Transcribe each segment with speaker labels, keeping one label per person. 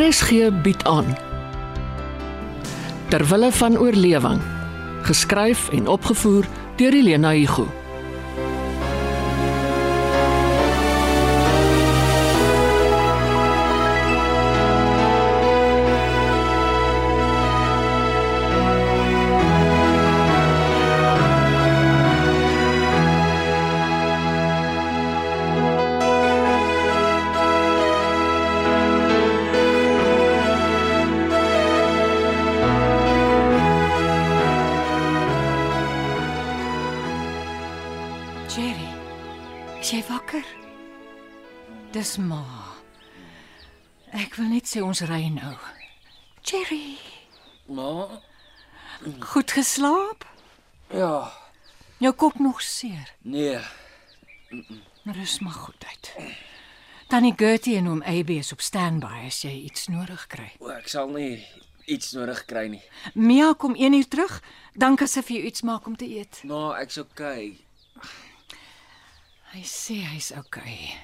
Speaker 1: RSG bied aan Terwille van oorlewing geskryf en opgevoer deur Elena Igu
Speaker 2: Jerry, is jy wakker? Dis ma. Ek wil net sê ons ry nou. Jerry,
Speaker 3: Ma,
Speaker 2: goed geslaap?
Speaker 3: ja,
Speaker 2: Jou kop nog seer?
Speaker 3: nee,
Speaker 2: Maar rus maar goed uit. Tannie Gertie en oom AB is op standby as jy iets nodig kry.
Speaker 3: o, ek sal nie iets nodig kry nie.
Speaker 2: Mia kom 1 uur terug, dan kan sy vir jou iets maak om te eet.
Speaker 3: Ma, ek's okay.
Speaker 2: Hy sê hy's okay.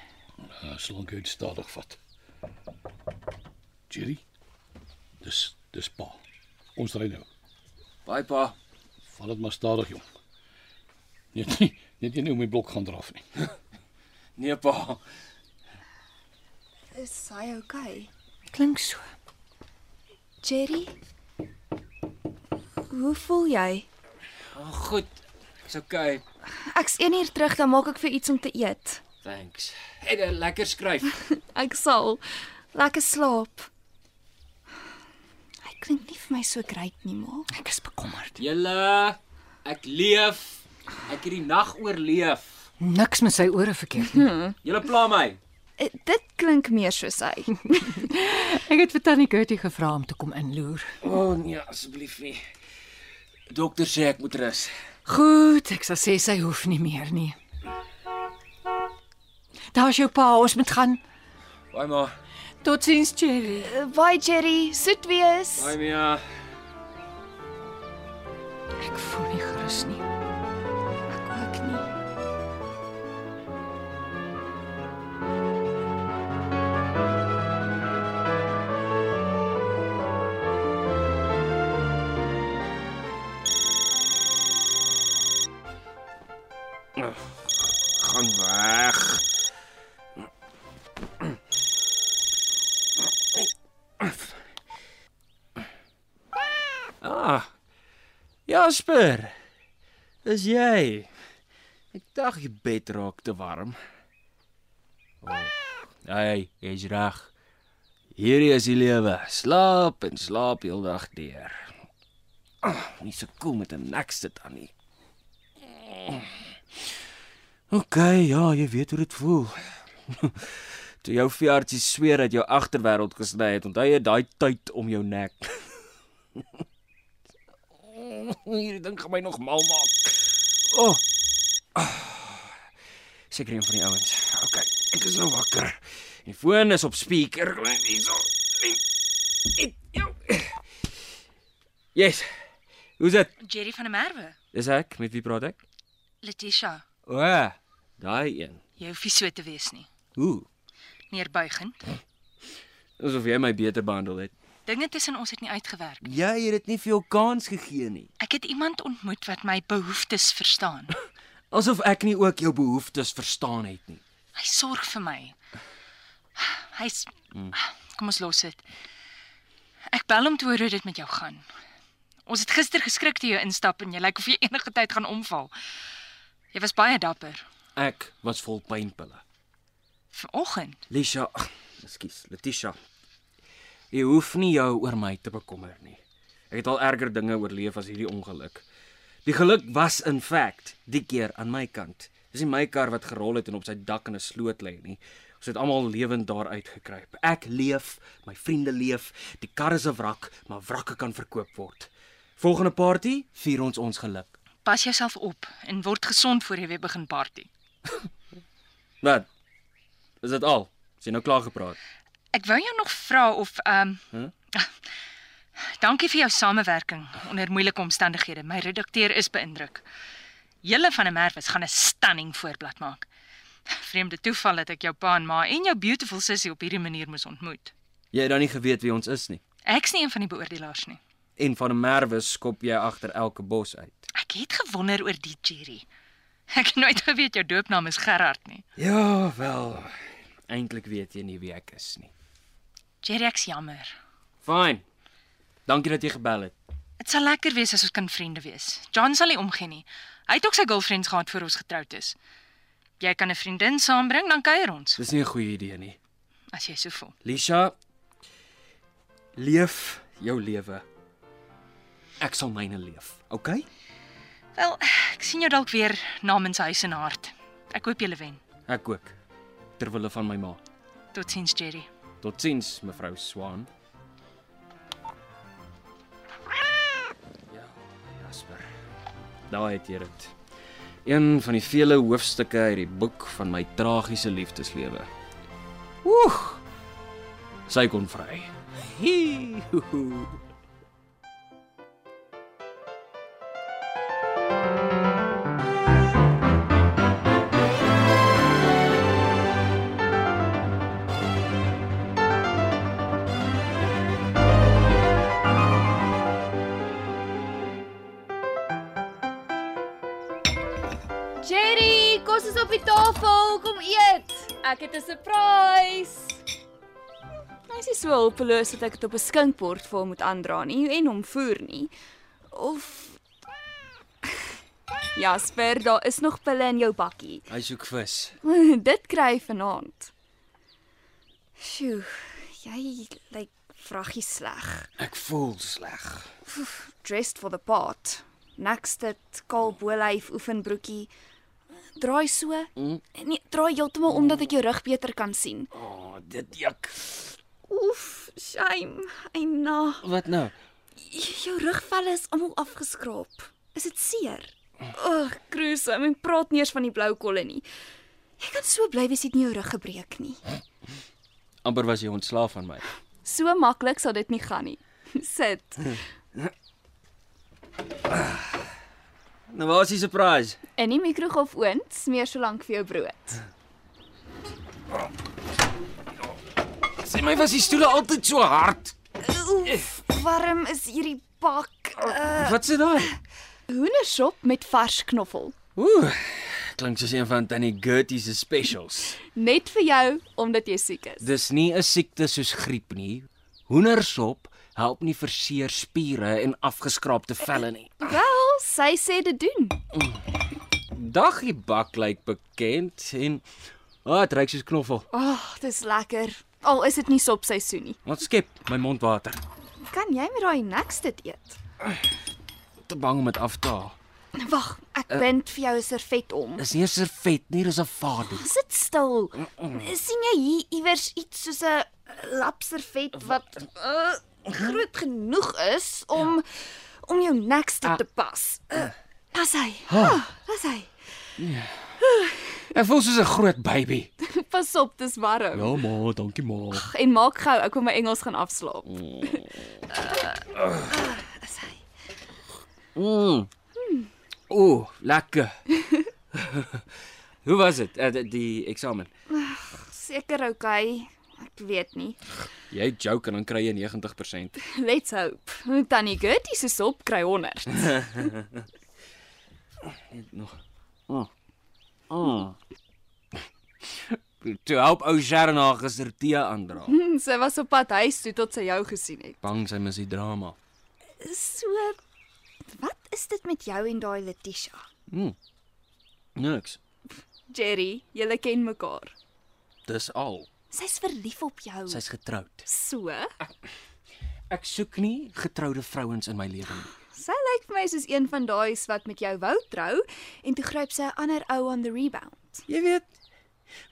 Speaker 4: Ja, solank hy dit stadig vat. Jerry. Dis dis pa. Ons ry nou.
Speaker 3: Bye pa.
Speaker 4: Val dit maar stadig, jong. Net nie net nie om die blok gaan draf nie.
Speaker 3: Nee pa.
Speaker 5: Is hy okay?
Speaker 2: Klink so.
Speaker 5: Jerry? Hoe voel jy?
Speaker 3: Oh, goed. Ek's okay.
Speaker 5: Ek's 1 uur terug, dan maak ek vir iets om te eet.
Speaker 3: Thanks. Het 'n lekker skryf.
Speaker 5: Ek sal lekker slaap. Hy klink nie vir my so great nie, ma.
Speaker 2: Ek is bekommerd.
Speaker 3: Julle, ek leef. Ek het die nag oorleef.
Speaker 2: Niks met sy ore verkeerd nie.
Speaker 3: Julle pla my.
Speaker 5: Eh, Dit klink meer soos hy.
Speaker 2: Ek het vir Tannie Gertie gevra om te kom inloer.
Speaker 3: O oh, nee, asseblief nie. Dokter sê ek moet rus.
Speaker 2: Goed, ek sal sê sy hoef nie meer nie. Daar's jou pa, ons moet gaan.
Speaker 3: Bye ma.
Speaker 2: Totsiens, Jerry.
Speaker 5: Eh, Bye Jerry, soet wees.
Speaker 3: Bye Mia.
Speaker 2: Ek voel nie gerus nie.
Speaker 5: Ek ook nie.
Speaker 3: Gaan weg. Ah. Jasper. Is jy? Ek dink die bed raak te warm. Oh. Hey, jy's reg. Hierdie is die lewe. Slaap en slaap heeldag deur. Oh, nie so koel met 'n nek sit aan nie. OK, ja, jy weet hoe dit voel. Toe jou veeartsie sweer dat jou agterwêreld gesny het, onthou jy daai tyd om jou nek. Hierdie ding gaan my nog mal maak. O. Oh. Oh. Seker een van die ouens. OK, ek is nou wakker. Die foon is op speaker. Hierso. Yes. Hoe's dit?
Speaker 6: Jerry van der Merwe.
Speaker 3: Dis ek. Met wie praat ek?
Speaker 6: Letitia,
Speaker 3: O, oh, daai een.
Speaker 6: jy hoef nie so te wees nie.
Speaker 3: Hoe?
Speaker 6: Neerbuigend.
Speaker 3: Asof jy my beter behandel het.
Speaker 6: Dinge tussen ons het nie uitgewerk.
Speaker 3: Jy het dit nie vir jou kans gegee nie.
Speaker 6: Ek het iemand ontmoet wat my behoeftes verstaan.
Speaker 3: Asof ek nie ook jou behoeftes verstaan het nie.
Speaker 6: Hy sorg vir my. Hy's Kom ons los dit. Ek bel om te hoor hoe dit met jou gaan. Ons het gister geskrik toe jy instap en jy lyk of jy enige tyd gaan omval. Jy was baie dapper.
Speaker 3: Ek was vol pynpille.
Speaker 6: Vanoggend.
Speaker 3: Lisha, ag, ekskuus, Letitia. Jy hoef nie jou oor my te bekommer nie. Ek het al erger dinge oorleef as hierdie ongeluk. Die geluk was in feite die keer aan my kant. Dis nie my kar wat gerol het en op sy dak in 'n sloot lê nie. Ons het almal lewend daar uitgekruip. Ek leef, my vriende leef. Die kar is 'n wrak, maar wrakke kan verkoop word. Volgende party vier ons ons geluk.
Speaker 6: Pas jouself op en word gesond voor jy weer begin party.
Speaker 3: Wat? Is dit al? Is jy nou klaar gepraat?
Speaker 6: Ek wou jou nog vra of ehm um, Dankie vir jou samewerking onder moeilike omstandighede. My redakteur is beïndruk. Julle van 'n merwes gaan 'n stunning voorblad maak. Vreemde toeval dat ek jou pa en ma en jou beautiful sussie op hierdie manier moes ontmoet.
Speaker 3: Jy het dan nie geweet wie ons is nie.
Speaker 6: Ek's nie een van die beoordelaars nie.
Speaker 3: En van 'n merwe skop jy agter elke bos uit.
Speaker 6: Ek het gewonder oor die Jerry. Ek het nooit geweet jou doopnaam is Gerard nie.
Speaker 3: Ja, wel. Eintlik weet jy nie wie ek is nie.
Speaker 6: Jerry, ek's jammer.
Speaker 3: Fyn. Dankie dat jy gebel het.
Speaker 6: Dit sal lekker wees as ons kan vriende wees. John sal nie omgee nie. Hy het ook sy girlfriends gehad voor ons getroud is. Jy kan 'n vriendin saambring, dan kuier ons
Speaker 3: Dis nie 'n goeie idee nie.
Speaker 6: as jy so voel.
Speaker 3: Lisha, leef jou lewe. Ek sal myne leef. OK?
Speaker 6: Wel, ek sien jou dalk weer namens huis en hart. Ek hoop jy wen.
Speaker 3: Ek ook. Terwille van my ma.
Speaker 6: Totsiens, Jerry.
Speaker 3: Totsiens, mevrou Swan. Ja, Jasper. Daai het jy dit. Een van die vele hoofstukke uit die boek van my tragiese liefdeslewe. Oeg. Sy kon vry. Hi.
Speaker 7: Jerry, kos is op die tafel, kom eet. Ek het 'n surprise.
Speaker 5: Hy's nie so hulpeloos dat ek dit op 'n skinkbord vir hom moet aandra nie en hom voer nie. Of Jasper, daar is nog pille in jou bakkie.
Speaker 3: Hy soek vis.
Speaker 5: dit kry hy vanaand. Sjoe, jy lyk vraggie sleg.
Speaker 3: Ek voel sleg.
Speaker 5: Dressed for the part. Next dit kaal bolyf oefenbroekie. Draai so.
Speaker 3: Mm.
Speaker 5: Nee, draai heeltemal om dat ek jou rug beter kan sien.
Speaker 3: O, oh, dit juk.
Speaker 5: Oef, shame. Eina.
Speaker 3: Wat nou?
Speaker 5: Jou rugvelle is almal afgeskraap. Is dit seer? Ag, Cruise, ek praat nie eers van die blou kolle nie. Jy kan so bly wees jy het nie jou rug gebreek nie.
Speaker 3: Amper was jy ontslaaf van my.
Speaker 5: So maklik sal dit nie gaan nie. Sit.
Speaker 3: Nou waar is die surprise?
Speaker 5: In die mikrogolfoond smeer so lank vir jou brood.
Speaker 3: Sê my was die stoele altyd so hard.
Speaker 5: Oef, warm is hierdie bak. Uh,
Speaker 3: Wat sê daai?
Speaker 5: hoendershop met vars knoffel.
Speaker 3: Ooh, klink soos een van tannie Gertie se specials.
Speaker 5: Net vir jou omdat jy siek is.
Speaker 3: Dis nie 'n siekte soos griep nie. Hoendersop help nie vir seer spiere en afgeskraapte velle nie.
Speaker 5: Wel, sy sê dit doen.
Speaker 3: Daggie bak lyk bekend en o, oh, dit ruik soos knoffel.
Speaker 5: Ag, oh, dis lekker. Al is dit nie sopseisoen nie.
Speaker 3: Wat skep my mond water.
Speaker 5: Kan jy met daai niks dit eet?
Speaker 3: Te bang om dit af te haal.
Speaker 5: Wag, ek bind vir jou 'n servet om.
Speaker 3: Dis nie 'n servet nie, dis 'n vado.
Speaker 5: Sit stil. sien jy hier iewers iets soos 'n lap servet wat uh, groot genoeg is om ja. om jou niks te, te pas? Uh, Dis hy. Ah, Dis hy.
Speaker 3: Ek voel soos 'n groot baby.
Speaker 5: Pas op, dis warm.
Speaker 3: Ja ma, dankie ma.
Speaker 5: En maak gou, ek wil my Engels gaan afslaap. Dis hy.
Speaker 3: Mm. Ooh, lekker. Hoe was dit? Uh, die eksamen.
Speaker 5: Seker oukei. Okay. Ek weet nie.
Speaker 3: Jy joke en dan kry jy 90%.
Speaker 5: Let's hope. Tannie Gertie se sop kry 100.
Speaker 3: nog. Oh. Oh. Toe help ou er Sharon haar gister tee aandra.
Speaker 5: Hmm, sy was op pad huis toe tot sy jou gesien het.
Speaker 3: Hm? Bang sy mis die drama.
Speaker 5: So wat is dit met jou en daai Letitia?
Speaker 3: Niks.
Speaker 5: Jerry, julle ken mekaar.
Speaker 3: Dis al.
Speaker 5: Sy's verlief op jou.
Speaker 3: Sy's getroud.
Speaker 5: so.
Speaker 3: Ek soek nie getroude vrouens in my lewe nie.
Speaker 5: Sy lyk vir my soos een van daai's wat met jou wou trou en toe gryp sy 'n ander ou on the rebound.
Speaker 3: Jy weet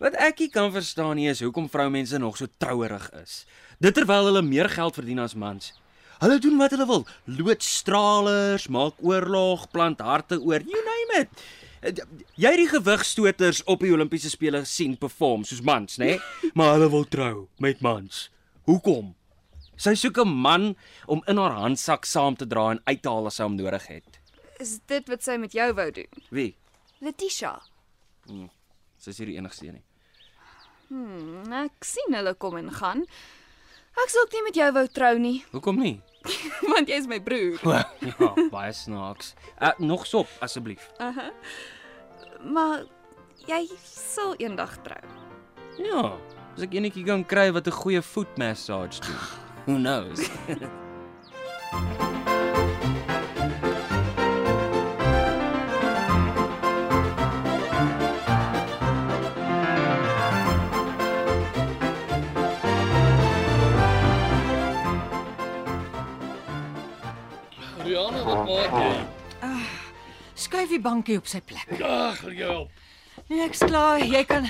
Speaker 3: wat ek nie kan verstaan nie is hoekom vroumense nog so trouerig is. Dit terwyl hulle meer geld verdien as mans. Hulle doen wat hulle wil. Loot stralers, maak oorlog, plant harte oor, you name it. Jy het die gewigstoters op die Olimpiese spele sien perform soos mans, né? Nee? Maar hulle wil trou met mans. Hoekom? Sy soek 'n man om in haar handsak saam te dra en uit te haal as sy hom nodig het.
Speaker 5: Is dit wat sy met jou wou doen?
Speaker 3: Wie?
Speaker 5: Letitia.
Speaker 3: Sy is hier die enigste een nie.
Speaker 5: Ek sien hulle kom en gaan. Ek sal ook nie met jou wou trou nie,
Speaker 3: Hoekom nie?
Speaker 5: want jy's my broer.
Speaker 3: ja, baie snaaks. Uh, nog sop asseblief.
Speaker 5: Maar jy sal eendag trou.
Speaker 3: Ja, as ek enetjie kan kry wat 'n goeie voet massage doen. Who knows?
Speaker 4: Rihanna, wat maak jy?
Speaker 2: Skuif die bankie op sy plek.
Speaker 4: Ag, wil jy help?
Speaker 2: Niks klaar, jy kan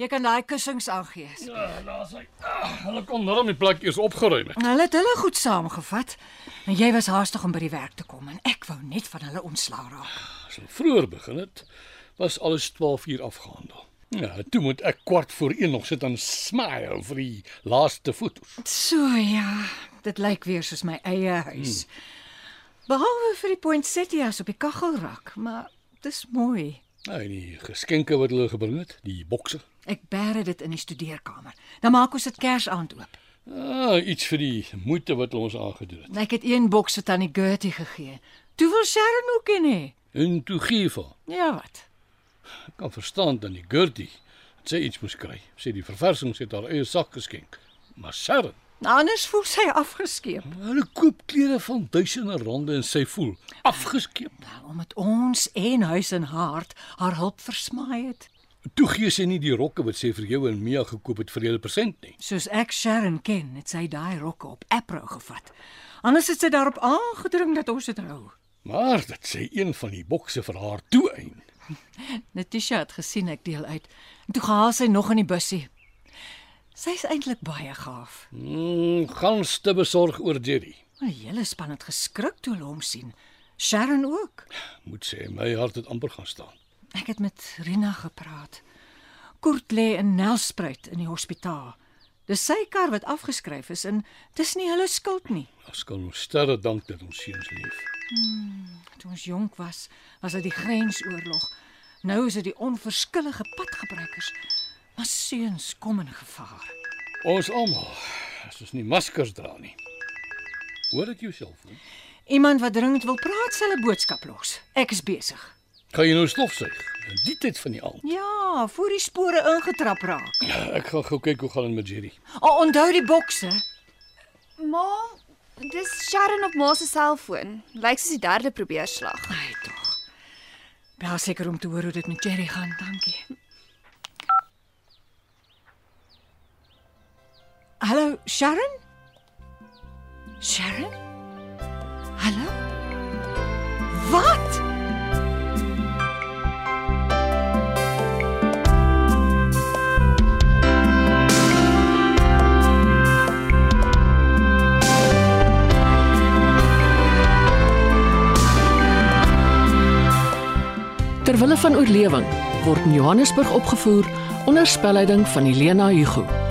Speaker 2: jy kan daai kussings aangee.
Speaker 4: Ja, daar's hy. Ag, hulle kon nou my plek eers opgeruim. het.
Speaker 2: Hulle het hulle goed saamgevat en jy was haastig om by die werk te kom en ek wou net van hulle ontslaa raak.
Speaker 4: As hulle vroeër begin het, was alles 12 uur afgehandel. Ja, toe moet ek kwart voor 1 nog sit en smile vir die laaste foto's.
Speaker 2: So ja, dit lyk weer soos my eie huis. Hmm. Behalwe vir die poinsettias op die kaggelrak, maar dis mooi.
Speaker 4: Nou, en die geskenke wat hulle gebring het, die bokse.
Speaker 2: Ek bære dit in die studeerkamer. Dan maak ons dit Kersaand oop.
Speaker 4: Ah, iets vir die moeite wat hulle ons aangedoen het.
Speaker 2: Ek het een boks vir tannie Gertie gegee. Toe wil Sharon ook in hê.
Speaker 4: En toe gee vir.
Speaker 2: Ja wat?
Speaker 4: Ek kan verstaan dat die Gertie dat sy iets moes kry. Sy het die verversings het haar eie sak geskenk. Maar Sharon,
Speaker 2: Anders voel sy afgeskeep.
Speaker 4: hulle koop klere van duisende rande en sy voel afgeskeep.
Speaker 2: Wel, Nou, omdat ons en huis en hart haar hulp versmaai het,
Speaker 4: Toe gee sy nie die rokke wat sy vir jou en Mia gekoop het vir julle persent nie.
Speaker 2: soos ek Sharon ken, het sy daai rokke op Apro gevat. Anders het sy daarop aangedring dat ons dit hou.
Speaker 4: Maar dat sy een van die bokse vir haar toe een.
Speaker 2: Natisha het gesien ek deel uit. En toe gehaal sy nog in die bussie. Sy's eintlik baie gaaf.
Speaker 4: Mm, gans te besorg oor Jerry.
Speaker 2: Maar die hele span het geskrik toe hulle hom sien. Sharon ook.
Speaker 4: Moet sê my hart het amper gaan staan.
Speaker 2: Ek het met Rina gepraat. Kort lê in Nelspruit in die hospitaal. Dis sy kar wat afgeskryf is en dis nie hulle skuld nie.
Speaker 4: Ons kan ons sterre dank dat ons seuns leef.
Speaker 2: Toe ons jonk was, was dit die grensoorlog. Nou is dit die onverskillige padgebruikers. Maar seuns kom in gevaar.
Speaker 4: Ons almal as ons nie maskers dra nie. Hoor dit jouself hoor.
Speaker 2: Iemand wat dringend wil praat, sal 'n boodskap los. Ek is besig.
Speaker 4: Gaan jy nou stofsuig? In die tyd van die aand.
Speaker 2: Ja, voor die spore ingetrap raak.
Speaker 4: Ek gaan gou kyk hoe gaan dit met Jerry.
Speaker 2: O, onthou die bokse.
Speaker 5: Ma, dis Sharon op ma se selfoon. Lyk soos die derde probeerslag.
Speaker 2: Ai tog. Bel seker om te hoor hoe dit met Jerry gaan, dankie. Hallo, Sharon? Sharon? Hallo? Wat?
Speaker 1: Terwille van oorlewing word in Johannesburg opgevoer onder spelleiding van Elena Hugo.